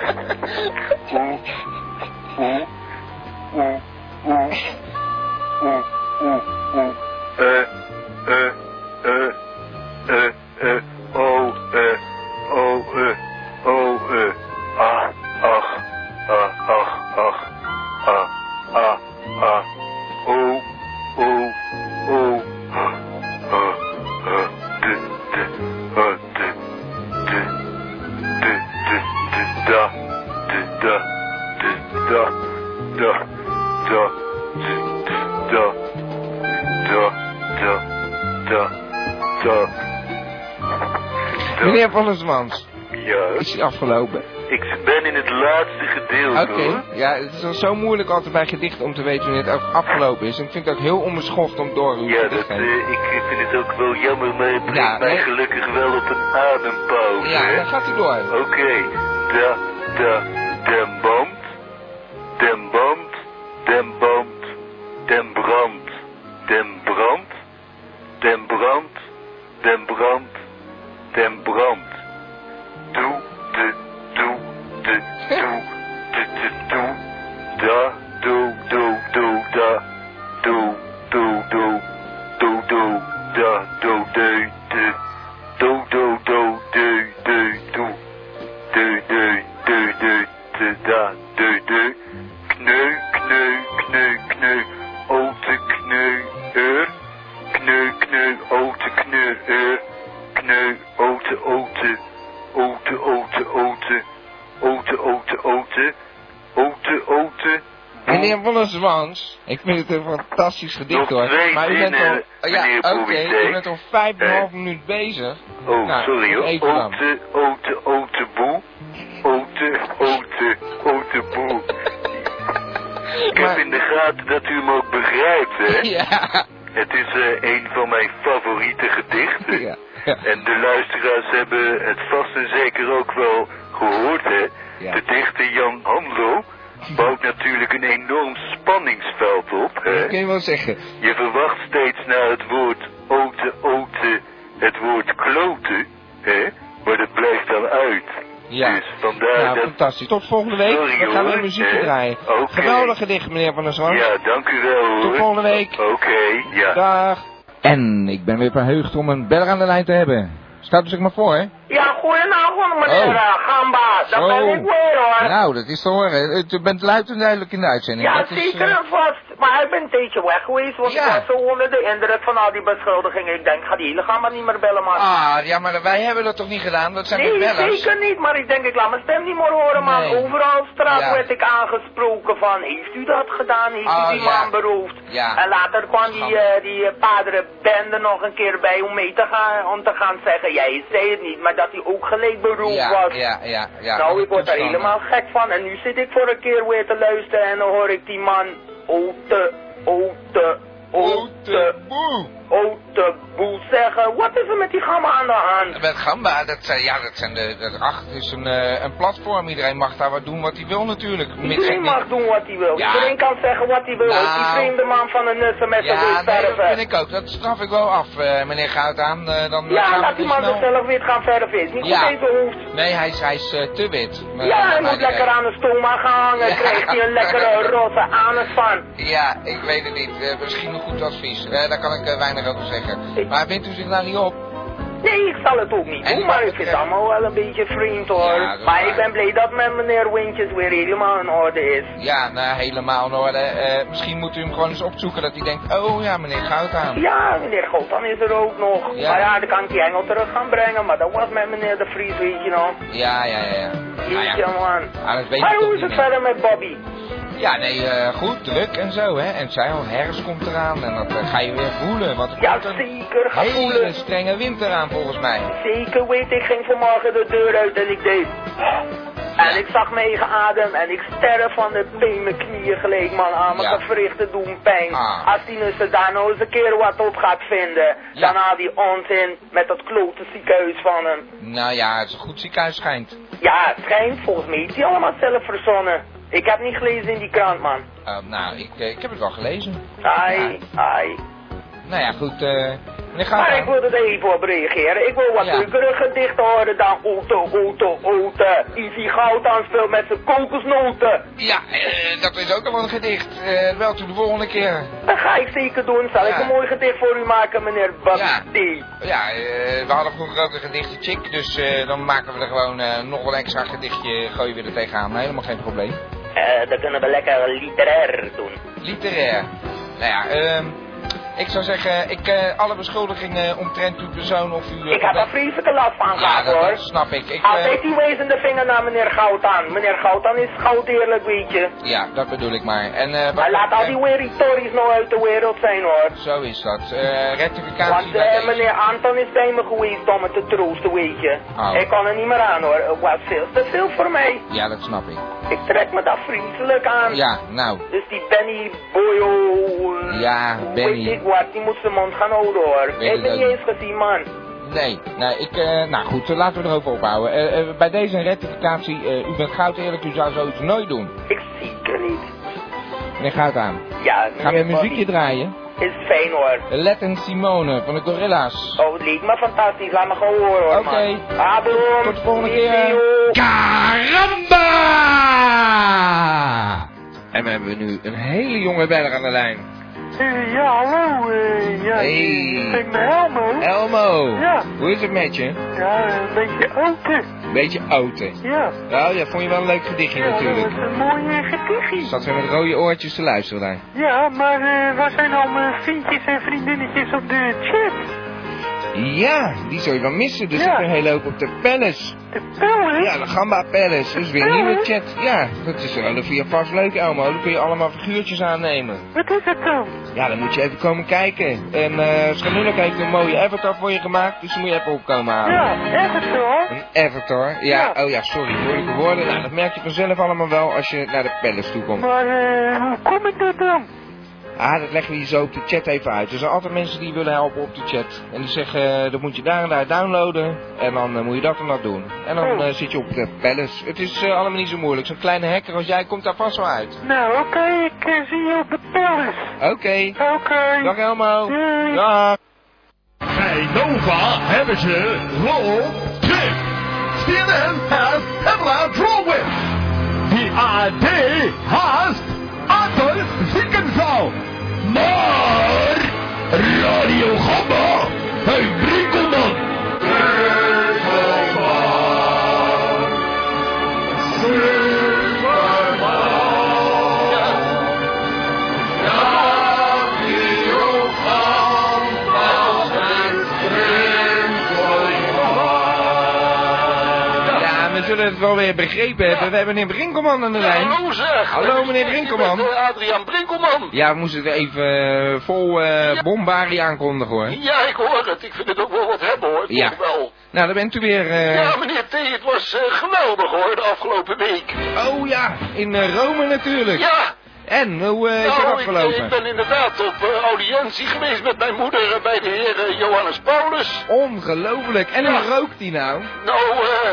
I: Oe, oe, oe, oe, oe, oe, oe. Eh, eh, eh, eh, eh, o, eh, o, eh, o, eh. Ah, ach, ah, ach, ach, ah, ah, ah. O, o, o. Ah, ah, ah. De, de, ah, de, de, de, de, de, da, de, da, de, da, da, da, de, de, da, da, da, da, da. Da.
B: Meneer van der Zwans,
I: Ja,
B: is hij afgelopen?
I: ik ben in het laatste gedeelte
B: Oké,
I: hoor.
B: ja, het is al zo moeilijk altijd bij gedichten om te weten wanneer het af- afgelopen is. En ik vind het ook heel onbeschoft om door uw
I: Ja,
B: gedicht
I: dat,
B: heen.
I: eh, ik vind het ook wel jammer, maar het brengt
B: Ja,
I: mij
B: hè?
I: gelukkig wel op een adempauze.
B: Ja,
I: hè.
B: dan gaat u door.
I: Oké, da, da, den band, den band, den band, den brand, den brand, den brand, den brand, den brand. Doe, de, doe, de, doe, de, de, doe, da, doe, doe, doe, da, doe, doe, doe, doe,
B: Meneer Wollenswans, ik vind het een fantastisch gedicht
C: Nog
B: hoor.
C: twee
B: Maar u bent
C: zinnen,
B: al, ja,
C: meneer
B: oké,
C: Boubichet.
B: u bent al vijf en een
C: Eh,
B: half minuut bezig.
C: Oh,
B: Nou,
C: sorry hoor. Oh,
B: even dan.
C: Ote, ote, ote boe. Ote, ote, ote boe. Ik heb
B: Maar-
C: in de gaten dat u hem ook begrijpt, hè?
B: Ja,
C: Het is eh, een van mijn favoriete gedichten.
B: ja, ja.
C: En de luisteraars hebben het vast en zeker ook wel gehoord, hè?
B: Ja.
C: De dichter Jan Handlo bouwt natuurlijk een enorm spanningsveld op, hè?
B: Dat kun je wel zeggen.
C: Je verwacht steeds naar het woord ote, ote, het woord kloten, hè? Maar dat blijft dan uit.
B: Ja.
C: Dus vandaar
B: Nou,
C: dat...
B: fantastisch. Tot volgende week.
C: Sorry,
B: We gaan
C: hoor.
B: weer muziekje
C: Eh,
B: draaien.
C: oké.
B: Geweldig gedicht, meneer Van der Zwans.
C: Ja, dank u wel hoor.
B: Tot volgende week.
C: Oké, ja.
B: Dag. En ik ben weer verheugd om een beller aan de lijn te hebben. Staat dus ik maar voor, hè?
J: Ja, goedenavond meneer
B: Oh.
J: eh, Gamba. Dat ben
B: Oh.
J: ik weer hoor.
B: Nou, dat is te horen. Het- U bent luid en duidelijk in de uitzending.
J: Ja,
B: dat is,
J: zeker
B: eh,
J: en vast. Maar ik ben een tijdje weg geweest, want
B: Ja.
J: ik was zo onder de indruk van al die beschuldigingen. Ik denk, ik ga die hele Gamba niet meer bellen, man.
B: Ah, ja, maar wij hebben dat toch niet gedaan? Dat zijn
J: nee,
B: de bellers.
J: zeker niet. Maar ik denk, ik laat mijn stem niet meer horen, man.
B: Nee.
J: Overal op straat
B: Ja.
J: werd ik aangesproken van, heeft u dat gedaan? Heeft
B: Ah,
J: u die
B: ja.
J: man beroofd?
B: Ja.
J: En later kwam die,
B: Schande.
J: eh, die eh, padere bende nog een keer bij om mee te gaan, om te gaan zeggen, jij zei het niet, maar dat hij ook gelijk beroofd
B: Ja,
J: was.
B: ja, ja, ja.
J: nou, ik word er
B: Toestanden.
J: helemaal gek van. En nu zit ik voor een keer weer te luisteren en dan hoor ik die man, ote, ote, ote,
B: boe!
J: ote boel zeggen. Wat is er met die gamma aan de hand?
B: Met Gamba, dat zijn, ja, dat zijn de, dat, ach, het is een, eh, een platform. Iedereen mag daar wat doen wat hij wil natuurlijk. Mits het
J: Iedereen
B: niet-
J: mag doen wat hij wil.
B: Ja.
J: Iedereen kan zeggen wat hij wil.
B: Nou.
J: Ook die vreemde man van de nussen met zijn
B: Ja, nee, dat
J: verven.
B: vind ik ook. Dat straf ik wel af, eh, meneer Goudaan. Eh, dan
J: Ja,
B: gaan we
J: laat die
B: weer
J: man
B: snel-
J: zichzelf wit gaan verven. Is niet
B: Ja.
J: goed deze hoofd.
B: Nee, hij is, hij is eh, te wit. Maar-
J: Ja, hij
B: maar
J: moet
B: die-
J: lekker aan de stoma gaan hangen.
B: Ja.
J: Krijgt hij een lekkere roze anus van.
B: Ja, ik weet het niet. Eh, misschien een goed advies. Eh, daar kan ik eh, weinig over zeggen.
J: Ik-
B: Maar wint u zich daar niet op?
J: Nee, ik zal het ook niet
B: En eh,
J: doen,
B: die
J: maar
B: man-
J: ik vind het allemaal wel een beetje vreemd hoor.
B: Ja, dat is
J: maar
B: waar.
J: ik ben blij dat met meneer Wintjes weer helemaal in orde is.
B: Ja, nou, helemaal in orde. Eh, misschien moet u hem gewoon eens opzoeken dat hij denkt, oh ja, meneer Goudaan.
J: Ja, meneer Gotan is er ook nog.
B: Ja.
J: Maar ja, dan kan ik die engel terug gaan brengen, maar dat was met meneer De Vries, weet je nog.
B: Ja, ja, ja. ja. Nou ja,
J: Jeetje, man.
B: Ah, dat weet ik
J: Maar
B: toch
J: hoe is
B: niet
J: het
B: meer.
J: verder met Bobby?
B: Ja, nee, eh, goed, druk en zo, hè. En zij al, herfst komt eraan en dat eh, ga je weer voelen. Want er
J: Ja,
B: komt een
J: zeker, ga
B: hele
J: voelen.
B: strenge winter aan, volgens mij.
J: Zeker weet, ik ging vanmorgen de deur uit en ik deed... En ik zag mijn eigen adem en ik sterf van de pijn, mijn knieën gelijk man aan, mijn
B: Ja.
J: gewrichten doen pijn.
B: Ah.
J: Als die nussen daar nou eens een keer wat op gaat vinden,
B: Ja.
J: dan haal die onzin met dat klote ziekenhuis van hem.
B: Nou ja, het is een goed ziekenhuis schijnt.
J: Ja, het schijnt, volgens mij is die allemaal zelf verzonnen. Ik heb niet gelezen in die krant man.
B: Eh, nou, ik, eh, ik heb het wel gelezen.
J: Ai, ai.
B: Nou ja, goed, eh meneer
J: Maar ik
B: Goudaan.
J: wil er even op reageren. Ik wil wat
B: Ja.
J: leukere gedichten horen dan Oete, Oete, Oete. Easy Goud aanspeelt met zijn kokosnoten.
B: Ja, eh, dat is ook al een gedicht. Eh, wel tot de volgende keer.
J: Dat ga ik zeker doen. Zal ik
B: Ja.
J: een mooi gedicht voor u maken, meneer Basti?
B: Ja, eh, we hadden vroeger ook een gedichtje chick, dus eh, dan maken we er gewoon eh, nog wel een extra gedichtje, gooien we er tegenaan. Helemaal geen probleem.
J: Eh, dat kunnen we lekker literair doen.
B: Literair. Nou ja, ehm, ik zou zeggen, ik, eh, alle beschuldigingen omtrent uw persoon of uw... eh,
J: Ik heb daar vreselijke last van
B: ja,
J: gehad,
B: dat,
J: hoor.
B: dat snap ik. ik eh,
J: Altijd die wezende vinger naar meneer Goud aan. Meneer Goud aan is goud eerlijk, weet je.
B: ja, dat bedoel ik maar. En, eh, wat-
J: Maar laat al die
B: eh,
J: weritories nou uit de wereld zijn, hoor.
B: Zo is dat. Eh rectificatie
J: Want
B: bij
J: eh,
B: deze.
J: meneer Anton is bij me geweest om me te troosten, weet je.
B: Oh.
J: Ik kon er niet meer aan hoor, het was veel te veel voor mij.
B: Ja, dat snap ik.
J: Ik trek me daar vriendelijk aan.
B: Ja, nou.
J: Dus die Benny Boyo... eh,
B: Ja,
J: hoe
B: Benny.
J: Weet ik wat, die moet zijn mond gaan houden hoor.
B: Weet
J: ik ben
B: het
J: niet
B: ook.
J: eens gezien man.
B: Nee, nou, ik, eh, nou goed, eh, laten we erover ophouden. Eh, eh, bij deze rectificatie, eh, u bent goud eerlijk, u zou zoiets nooit doen.
J: Ik zeker niet.
B: Meneer goud aan.
J: Ja,
B: Gaan we
J: meneer
B: een muziekje draaien?
J: Bobby Is fijn hoor.
B: Let en Simone van de Gorilla's.
J: Oh, het leek me fantastisch, laat me gewoon horen hoor
B: Oké.
J: man. Abel.
B: Tot de volgende keer. Caramba! Ah! En we hebben nu een hele jonge beller aan de lijn.
J: Eh, Ja, hallo. eh, ja,
B: Hey,
J: ben Helmo.
B: Elmo.
J: Ja.
B: Hoe is het met je?
J: Ja, een beetje open.
B: Beetje oud,
J: Ja.
B: Nou, ja, vond je wel een leuk gedichtje natuurlijk.
J: een mooie gedichtje.
B: Zat weer met rode oortjes te luisteren daar.
K: eh,
J: Ja, maar waar zijn al mijn vriendjes en vriendinnetjes op de chat?
B: Ja, die zou je wel missen. Er zit
K: Ja.
B: een hele hoop op de Palace.
K: De pellen?
B: Ja, de Gamba Palace. Dat is weer een nieuwe chat. Ja, dat is wel via vast leuk, Elmo. Dan kun je allemaal figuurtjes aannemen.
K: Wat is dat dan?
B: Ja, dan moet je even komen kijken. En eh Schanulik heeft een mooie avatar voor je gemaakt, dus die moet je even opkomen halen.
K: Ja, echt het hoor.
B: Een avatar? Ja,
K: Ja.
B: oh ja, sorry, moeilijke woorden. Nou, dat merk je vanzelf allemaal wel als je naar de palace toe komt.
K: Maar eh, hoe kom ik dat dan?
B: Ah, dat leggen we je zo op de chat even uit. Er zijn altijd mensen die willen helpen op de chat. En die zeggen, eh, dat moet je daar en daar downloaden. En dan eh, moet je dat en dat doen. En dan
K: Oh.
B: eh, zit je op de palace. Het is eh, allemaal niet zo moeilijk. Zo'n kleine hacker als jij komt daar vast wel uit.
K: Nou, oké, ik eh, zie je op de palace.
B: Oké.
K: Oké.
B: Dag Elmo.
K: Doei.
B: Dag.
H: Bij Nova hebben ze roll tip. CNN has Pamela Drolwitz. The AD has Adolf Ziekenzaal. Maar Radio Gamma heeft Brinkelman.
B: Ja, we zullen het wel weer begrepen hebben. We hebben meneer Brinkelman aan de lijn.
L: Hallo zeg!
B: Hallo, meneer Brinkelman.
L: Ik ben, eh, Adriaan Brinkelman.
B: Ja, we moesten het even eh, vol eh bombarie aankondigen hoor.
L: Ja, ik hoor het. Ik vind het ook wel wat hebben hoor. Toch
B: Ja.
L: Wel.
B: Nou, dan bent u weer... eh,
L: Ja, meneer T, het was eh, geweldig hoor, de afgelopen week.
B: Oh ja, in eh, Rome natuurlijk.
L: Ja,
B: En, hoe eh, is het
L: nou, ik,
B: afgelopen?
L: ik ben inderdaad op eh, audiëntie geweest met mijn moeder eh, bij de heer eh, Johannes Paulus.
B: Ongelooflijk. En
L: Ja.
B: hoe rookt die nou?
L: Nou, eh,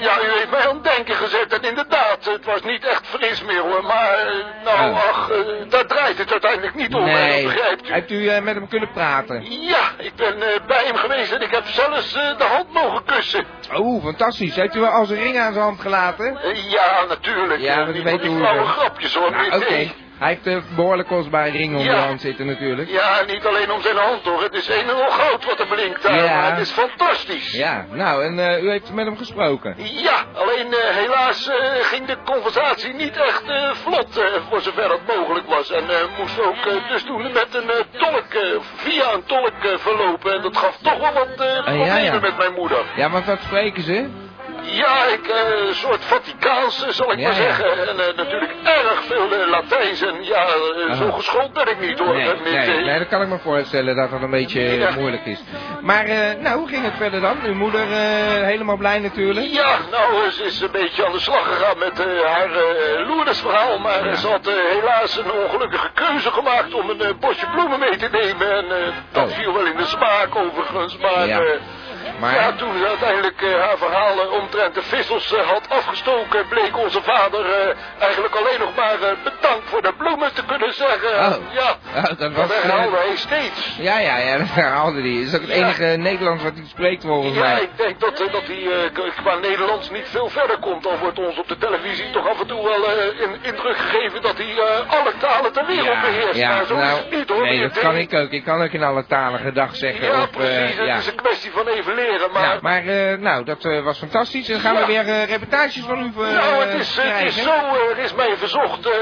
L: ja, u heeft mij aan het denken gezet en inderdaad, het was niet echt fris meer hoor. Maar, eh, nou,
B: Oh.
L: ach, eh, daar draait het uiteindelijk niet om, eh, begrijpt u?
B: Hebt u eh, met hem kunnen praten?
L: Ja, ik ben eh, bij hem geweest en ik heb zelfs eh, de hand mogen kussen.
B: Oh, fantastisch. Heeft u wel al zijn ring aan zijn hand gelaten?
L: Eh, ja, natuurlijk.
B: Ja,
L: eh,
B: maar
L: niet
B: weet
L: van die
B: hoe-
L: flauwe grapjes hoor,
B: Nou,
L: meneer
B: oké.
L: T.
B: Hij heeft een behoorlijk kostbare ring onder
L: Ja.
B: de hand zitten natuurlijk.
L: Ja, niet alleen om zijn hand hoor. Het is een en al goud wat er blinkt daar.
B: Ja.
L: maar Het is fantastisch.
B: Ja, nou, en eh, u heeft met hem gesproken?
L: Ja, alleen eh, helaas eh, ging de conversatie niet echt eh, vlot, eh, voor zover het mogelijk was. En eh, moest ook eh, dus toen met een eh, tolk, eh, via een tolk eh, verlopen. En dat gaf toch wel wat eh, problemen
B: Ah, ja.
L: met mijn moeder.
B: Ja, maar wat spreken ze?
L: Ja, ik, eh, een soort Vaticaans, eh, zal ik
B: Ja,
L: maar
B: ja.
L: zeggen. En eh, natuurlijk erg veel eh, Latijns. En ja, eh,
B: Ah.
L: zo geschoold ben ik niet hoor.
B: Nee,
L: eh, meneer
B: nee,
L: T.
B: nee, dat kan ik me voorstellen dat dat een beetje eh,
L: Ja.
B: moeilijk is. Maar, eh, nou, hoe ging het verder dan? Uw moeder eh, helemaal blij natuurlijk?
L: Ja, nou, ze is een beetje aan de slag gegaan met eh, haar eh Lourdes-verhaal. Maar eh, ze had eh, helaas een ongelukkige keuze gemaakt om een eh, bosje bloemen mee te nemen. En eh, dat
B: Oh.
L: viel wel in de smaak overigens. Maar,
B: Ja.
L: eh,
B: Maar-
L: ja, toen ze uiteindelijk eh, haar verhaal eh, omtrent de vissels eh, had afgestoken... bleek onze vader eh, eigenlijk alleen nog maar eh, bedankt voor de bloemen te kunnen zeggen.
B: Oh.
L: Ja,
B: Oh, dat was,
L: herhaalde
B: eh,
L: hij steeds.
B: Ja, ja, ja, dat herhaalde hij. Dat is ook het
L: Ja.
B: enige Nederlands wat hij spreekt volgens
L: Ja,
B: mij.
L: ik denk dat, eh, dat hij eh, k- qua Nederlands niet veel verder komt. Al wordt ons op de televisie toch af en toe wel eh in indruk gegeven dat hij eh, alle talen ter wereld beheerst. maar zo is het niet hoor.
B: nou, nee,
L: meneer
B: dat
L: T.
B: kan ik ook. Ik kan ook in alle talen gedag zeggen.
L: Ja,
B: of, eh,
L: precies.
B: ja.
L: Het is een kwestie van even leren. Maar,
B: Ja, maar eh, nou, dat eh, was fantastisch. Dan gaan we
L: Ja.
B: weer eh, reportages van u eh,
L: nou, het is, het
B: krijgen.
L: is zo, eh, er is mij verzocht, eh,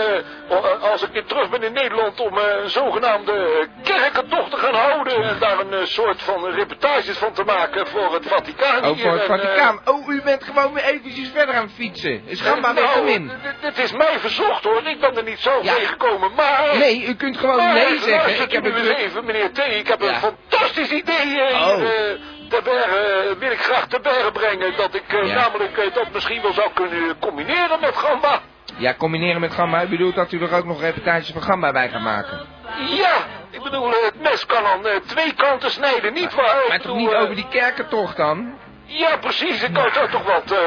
L: o- eh, als ik weer terug ben in Nederland, om eh, een zogenaamde kerkentocht te gaan houden. En daar een eh, soort van reportages van te maken voor het Vaticaan.
B: Oh,
L: hier.
B: voor het
L: En, eh,
B: Vaticaan. Oh, u bent gewoon weer eventjes verder aan het fietsen. Is Gamba
L: Nou,
B: weg hem in.
L: d- d- Dit is mij verzocht hoor, ik ben er niet zo
B: Ja.
L: mee gekomen, maar...
B: Nee, u kunt gewoon
L: maar,
B: nee zeggen.
L: Luistert
B: Ik
L: u
B: heb
L: nu
B: het
L: eens
B: druk.
L: even, meneer T, ik heb
B: Ja.
L: een fantastisch idee eh,
B: Oh.
L: hier, eh, ter bergen, eh, wil ik graag te bergen brengen. Dat ik eh,
B: Ja.
L: namelijk eh, dat misschien wel zou kunnen eh, combineren met Gamba.
B: Ja, combineren met Gamba. U bedoelt dat u er ook nog reportages van Gamba bij gaat maken.
L: Ja, ik bedoel, eh, het mes kan aan eh, twee kanten snijden, niet waar? Ik
B: Maar toch
L: bedoel,
B: niet
L: eh,
B: over die kerkentocht dan? Nou.
L: Ja, precies, ik kan daar toch wat, eh,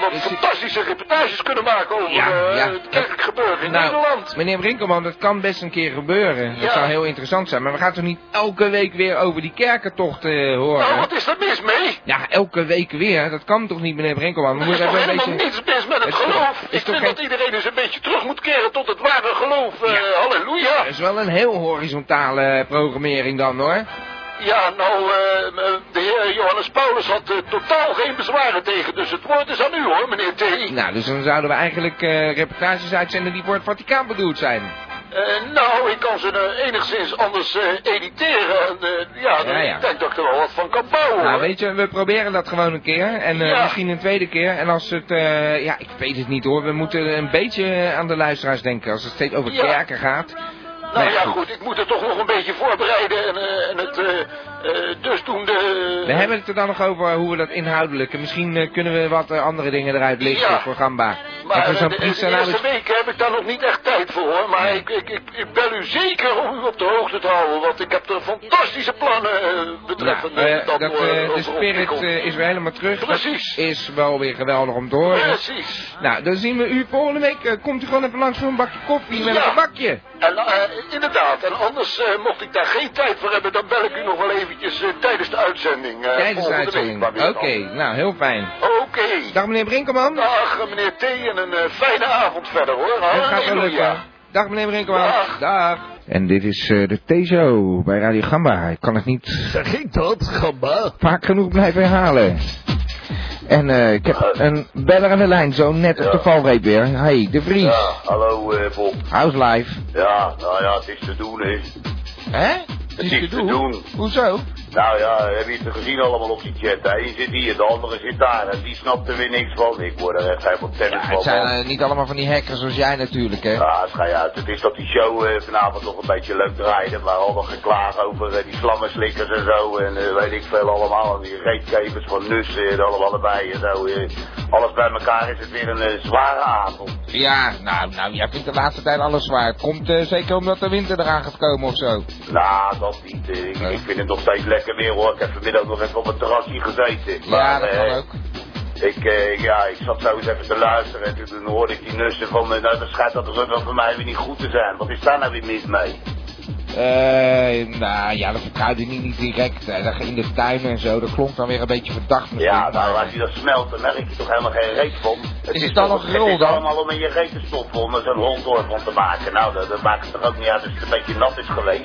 L: wat
B: Dus ik-
L: fantastische reportages kunnen maken over
B: Ja,
L: eh,
B: ja.
L: het kerkelijk gebeuren in
B: Nou,
L: Nederland.
B: Meneer Brinkelman, dat kan best een keer gebeuren. Dat
L: Ja.
B: zou heel interessant zijn. Maar we gaan toch niet elke week weer over die kerkentochten eh, horen?
L: Nou, wat is er mis mee?
B: Ja, elke week weer. Dat kan toch niet, meneer Brinkelman? We
L: Er is
B: moeten
L: toch
B: even een
L: helemaal
B: beetje...
L: niets mis met het
B: is toch-
L: geloof.
B: is
L: Ik
B: toch
L: vind
B: geen-
L: dat iedereen eens een beetje terug moet keren tot het ware geloof. eh, halleluja.
B: Dat is wel een heel horizontale programmering dan, hoor.
L: Ja, nou, eh, eh, de heer Johannes Paulus had eh, totaal geen bezwaren tegen. Dus het woord is aan u hoor, meneer T.
B: Nou, dus dan zouden we eigenlijk eh, reportages uitzenden die voor het Vaticaan bedoeld zijn.
L: Eh, nou, ik kan ze eh, enigszins anders eh, editeren. En, eh, ja,
B: Ja, ja.
L: ik denk dat ik er wel wat van kan bouwen.
B: Nou,
L: hoor.
B: weet je, we proberen dat gewoon een keer. En eh,
L: Ja.
B: misschien een tweede keer. En als het... eh, ja, ik weet het niet hoor. We moeten een beetje aan de luisteraars denken. Als het steeds over
L: Ja.
B: kerken gaat.
L: nou
B: nee,
L: ja,
B: goed.
L: goed. ik moet het toch nog een beetje voorbereiden. En, eh, en het eh, eh, dus doen de...
B: We hebben het er dan nog over hoe we dat inhoudelijk... Misschien eh, kunnen we wat eh, andere dingen eruit lichten
L: Ja.
B: voor Gamba.
L: Maar
B: dat we
L: eh,
B: zo'n
L: de,
B: priester
L: de
B: nou
L: eerste
B: eens-
L: weken heb ik daar nog niet echt tijd voor, hoor. Maar ik, ik, ik, ik bel u zeker om u op de hoogte te houden. Want ik heb er fantastische plannen eh, betreffende
B: Nou, eh,
L: dat,
B: dat,
L: eh,
B: eh, de
L: over
B: spirit
L: ontwikkeld.
B: eh, is weer helemaal terug.
L: Precies.
B: Dat is wel weer geweldig om te horen.
L: Precies.
B: Nou, dan zien we u volgende week. Eh, komt u gewoon even langs voor een bakje koffie met een
L: Ja.
B: gebakje.
L: En eh, inderdaad, en anders eh, mocht ik daar geen tijd voor hebben, dan bel ik u nog wel eventjes eh, tijdens de uitzending. eh,
B: Tijdens de
L: volgende
B: uitzending.
L: week
B: Oké,
L: maar weer
B: nou, heel fijn.
L: dan. Oké.
B: Dag meneer Brinkelman.
L: Dag eh, meneer T en een eh, fijne avond verder hoor.
B: Het gaat wel
L: Halleluja.
B: lukken. Dag meneer Brinkelman.
L: Dag.
B: En dit is eh, de T-show bij Radio Gamba. Ik kan het niet
H: Zeg ik dat, gamba?
B: vaak genoeg blijven herhalen. En eh, ik heb een beller aan de lijn, zo net op de valreep weer. Hey, de Vries.
M: Ja, hallo eh, Bob.
B: House live.
M: Ja, nou ja, het is te doen, hè.
B: Hè?
M: Het is te doen.
B: Hoezo?
M: Nou ja, heb je het er gezien allemaal op die chat, hè? Je zit hier, de andere zit daar en die snapt er weer niks van. Ik word er echt helemaal tennis
B: Ja,
M: van.
B: het zijn
M: man.
B: eh, niet allemaal van die hackers zoals jij natuurlijk, hè?
M: Ja, het ga je uit. Het is dat die show eh, vanavond nog een beetje leuk draaide. Maar allemaal geklaag over eh, die slammenslikkers en zo. En eh, weet ik veel allemaal. En die reetkevers van Nus eh, en allemaal erbij en zo. eh. alles bij elkaar is het weer een eh, zware avond.
B: Ja, nou, nou, jij vindt de laatste tijd alles zwaar. Het komt eh, zeker omdat de winter eraan gaat komen of zo.
M: Nou, dat niet. Eh, Ik, ik vind het nog steeds lekker weer hoor. Ik heb vanmiddag nog even op het terrasje gezeten.
B: Ja, dat
M: eh,
B: kan ook.
M: Ik, eh, ja, ik zat zo eens even te luisteren en toen hoorde ik die nussen van, eh, nou dan schijnt dat rubber voor mij weer niet goed te zijn. Wat is daar nou weer mis mee?
B: Eh, nou ja, dat vertrouwde ik niet, niet direct. hè. Dat in de tuin en zo, dat klonk dan weer een beetje verdacht misschien.
M: Ja, nou
B: maar-
M: als je dat smelt dan merk je toch helemaal geen reet van. Het
B: Is het dan
M: toch-
B: nog rol
M: Het is
B: dan?
M: allemaal om in je reet te stoppen om er zo'n hond van te maken. Nou, dat, dat maakt het toch ook niet uit als het een beetje nat is geweest.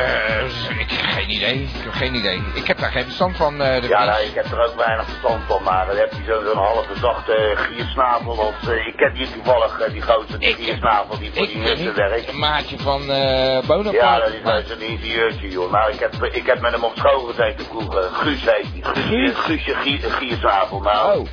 B: Eh, ik heb geen idee. Ik heb geen idee. Ik heb daar geen verstand van, eh, de
M: Ja,
B: Vries.
M: nou, ik heb er ook weinig verstand van, maar dan heb je zo- zo'n halve zachte giersnavel. Want eh, ik ken die toevallig, eh, die grote die
B: Ik-
M: giersnavel die voor
B: Ik
M: die
B: ben
M: nussen
B: niet
M: werkt.
B: een maatje van eh Bonaparte.
M: Ja, dat is wel
B: maar-
M: eens een ingenieurtje, joh. Nou, ik heb, ik heb met hem op school gezeten vroeger. Guus heet die. Guus? eh, Guusje Gier- Gierzabel. Nou,
B: Oh.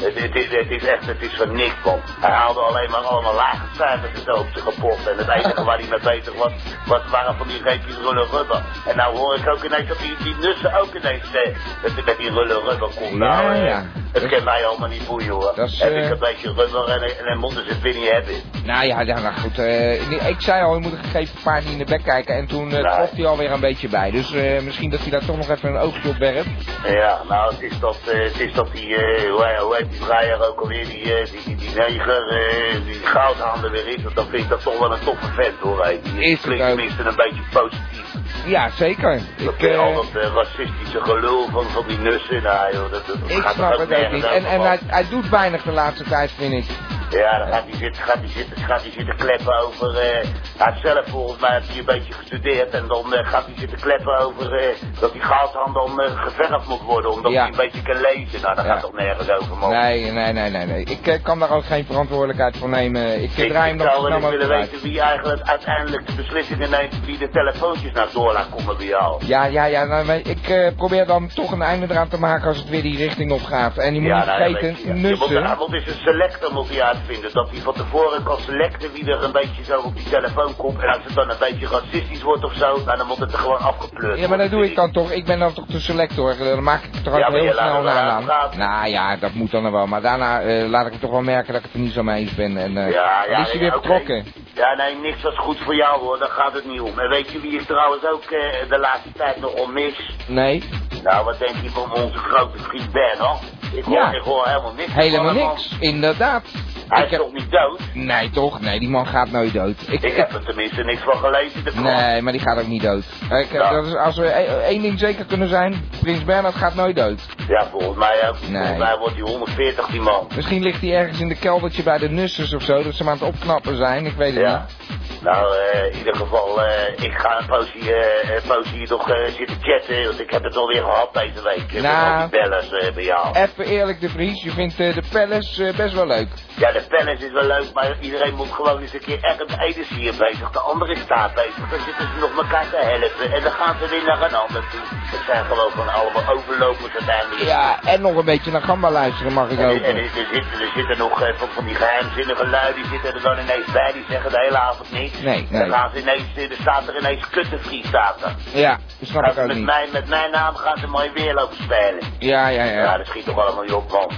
M: het, het, is- het is echt, het is van niks, man. Hij haalde alleen maar allemaal lage cijfers en zo op zijn rapport. En het enige waar hij mee bezig was, was waren van die reepjes rullen rubber. En nou hoor ik ook ineens dat die, die nussen ook ineens eh, dat het met die rullen rubber komt. nou,
B: Ja,
M: eh,
B: ja.
M: Het kan mij allemaal niet boeien, hoor.
B: Dat is,
M: heb
B: eh,
M: ik een beetje rubber en, en dan moeten ze het weer niet hebben.
B: Nou ja, ja, nou goed. eh, nee, ik zei al, je moet een gegeven paard niet in de bek kijken. En toen eh
M: Nee.
B: trof hij alweer een beetje bij. Dus eh, misschien dat hij daar toch nog even een oogje op werpt.
M: Ja, nou, het is dat, eh, het is dat die, eh, hoe, hoe heet die vrijer ook alweer, die, eh, die, die, die neger, eh, die goudhaan er weer is, want dan vind ik dat toch wel een toffe vent hoor. hè. Die
B: Is het
M: klinkt
B: ook.
M: tenminste een beetje positief.
B: Ja, zeker.
M: Dat,
B: Ik,
M: eh,
B: eh,
M: al dat eh, racistische gelul van, van die nussen, nou joh, dat, dat
B: ik
M: gaat toch
B: snap
M: ook
B: het ook
M: nergens
B: niet. En,
M: over,
B: en
M: man.
B: hij, hij doet weinig de laatste tijd, vind ik.
M: Ja, dan gaat hij zitten, gaat hij zitten, gaat hij zitten kleppen over. eh, hij heeft zelf volgens mij heeft hij een beetje gestudeerd en dan eh, gaat hij zitten kleppen over eh, dat die goudhaan dan eh, geverfd moet worden, omdat
B: Ja.
M: hij een beetje kan lezen. Nou, dat
B: Ja.
M: gaat toch nergens over, man.
B: Nee, nee, nee, nee. nee. Ik eh, kan daar ook geen verantwoordelijkheid voor nemen. Ik eh,
M: Ik
B: draai hem nog zo
M: zou
B: snel
M: wel eens willen
B: mogelijk uit.
M: weten wie eigenlijk uiteindelijk de beslissingen neemt die de telefoontjes naar door laat komen bij jou.
B: Ja, ja, ja. nou, maar ik eh, probeer dan toch een einde eraan te maken als het weer die richting op gaat. En je moet niet
M: nou, dat
B: vergeten,
M: weet je. Je moet,
B: nussen.
M: hij moet eens een selector moet hij uitvinden. Dat hij van tevoren kan selecten wie er een beetje zo op die telefoon komt. En als het dan een beetje racistisch wordt of zo, nou, dan moet het er gewoon afgepleurd
B: Ja, maar
M: worden,
B: dat doe ik
M: vind
B: dan toch. Ik ben dan toch de selector. Dan maak ik het er ook
M: Ja, maar
B: heel
M: je laat
B: snel
M: hem wel
B: naar aan.
M: uitpraten.
B: Nou ja, dat moet dan wel. Maar daarna eh, laat ik het toch wel merken dat ik het er niet zo mee eens ben. En eh,
M: Ja, ja,
B: dan is hij
M: nee,
B: weer
M: oké.
B: betrokken.
M: Ja, nee, niks was goed voor jou hoor, daar gaat het niet om. En weet je wie ik trouwens ook eh, de laatste tijd nog om mis?
B: Nee?
M: Nou, wat denk je van onze grote vriend Bernhard? Ik hoor,
B: Ja.
M: ik hoor helemaal niks van
B: Helemaal
M: hem, man.
B: niks. Inderdaad.
M: Hij
B: Ik
M: is
B: heb-
M: toch niet dood?
B: Nee, toch? Nee, die man gaat nooit dood. Ik,
M: Ik heb er tenminste niks van gelezen. De krant.
B: Nee, maar die gaat ook niet dood. Ik, eh,
M: Nou.
B: dat is, als we e- één ding zeker kunnen zijn, Prins Bernhard gaat nooit dood.
M: Ja, volgens mij ook.
B: Nee.
M: Volgens mij wordt hij 140, die man.
B: Misschien ligt hij ergens in de keldertje bij de nussers of zo, dat ze hem aan het opknappen zijn, ik weet het
M: Ja.
B: niet.
M: Nou, eh, in ieder geval, eh, ik ga een poosje, eh, een poosje hier nog eh, zitten chatten, want ik heb het alweer gehad deze week. eh,
B: Nou.
M: Met al die bellers eh, bij jou.
B: Even eerlijk, De Vries, je vindt eh, de Palace eh, best wel leuk.
M: Ja, de Palace is wel leuk, maar iedereen moet gewoon eens een keer echt met ene is hier bezig. De andere is daar bezig. Dan zitten ze nog elkaar te helpen en dan gaan ze weer naar een ander toe. Het zijn gewoon van allemaal overlopers uiteindelijk.
B: Ja, en nog een beetje naar Gamba luisteren mag ik
M: En, en,
B: hopen.
M: er, zitten, er zitten nog eh, van, van die geheimzinnige lui, die zitten er dan ineens bij, die zeggen de hele avond niks.
B: Nee, nee.
M: Dan gaan ze ineens, eh, er staat er ineens kuttevries staat er.
B: Ja, dat snap
M: Gaan
B: ik
M: ze
B: ook
M: met,
B: niet.
M: mijn, met mijn naam gaan ze mooi weer lopen spelen.
B: Ja, ja,
M: Ja,
B: ja.
M: dat schiet toch allemaal niet op, man.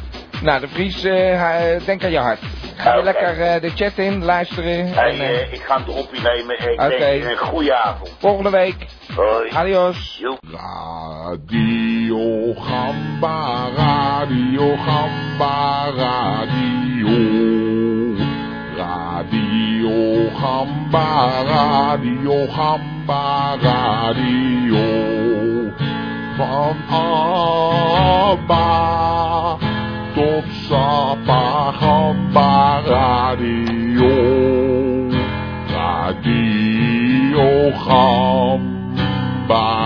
B: Nou, De Vries, eh, hij- denk aan je hart. Ga je
M: Oké.
B: lekker eh, de chat in, luisteren.
M: Hey,
B: en, eh,
M: eh, ik ga hem erop nemen. Ik eh,
B: Oké.
M: denk een goede avond.
B: volgende week.
M: Hoi.
B: Adios.
N: Radio Gamba, Radio Gamba, Radio. Radio Gamba, Radio Gamba, Radio. Van Abba tot Sapa Gamba, Radio. Radio Gamba.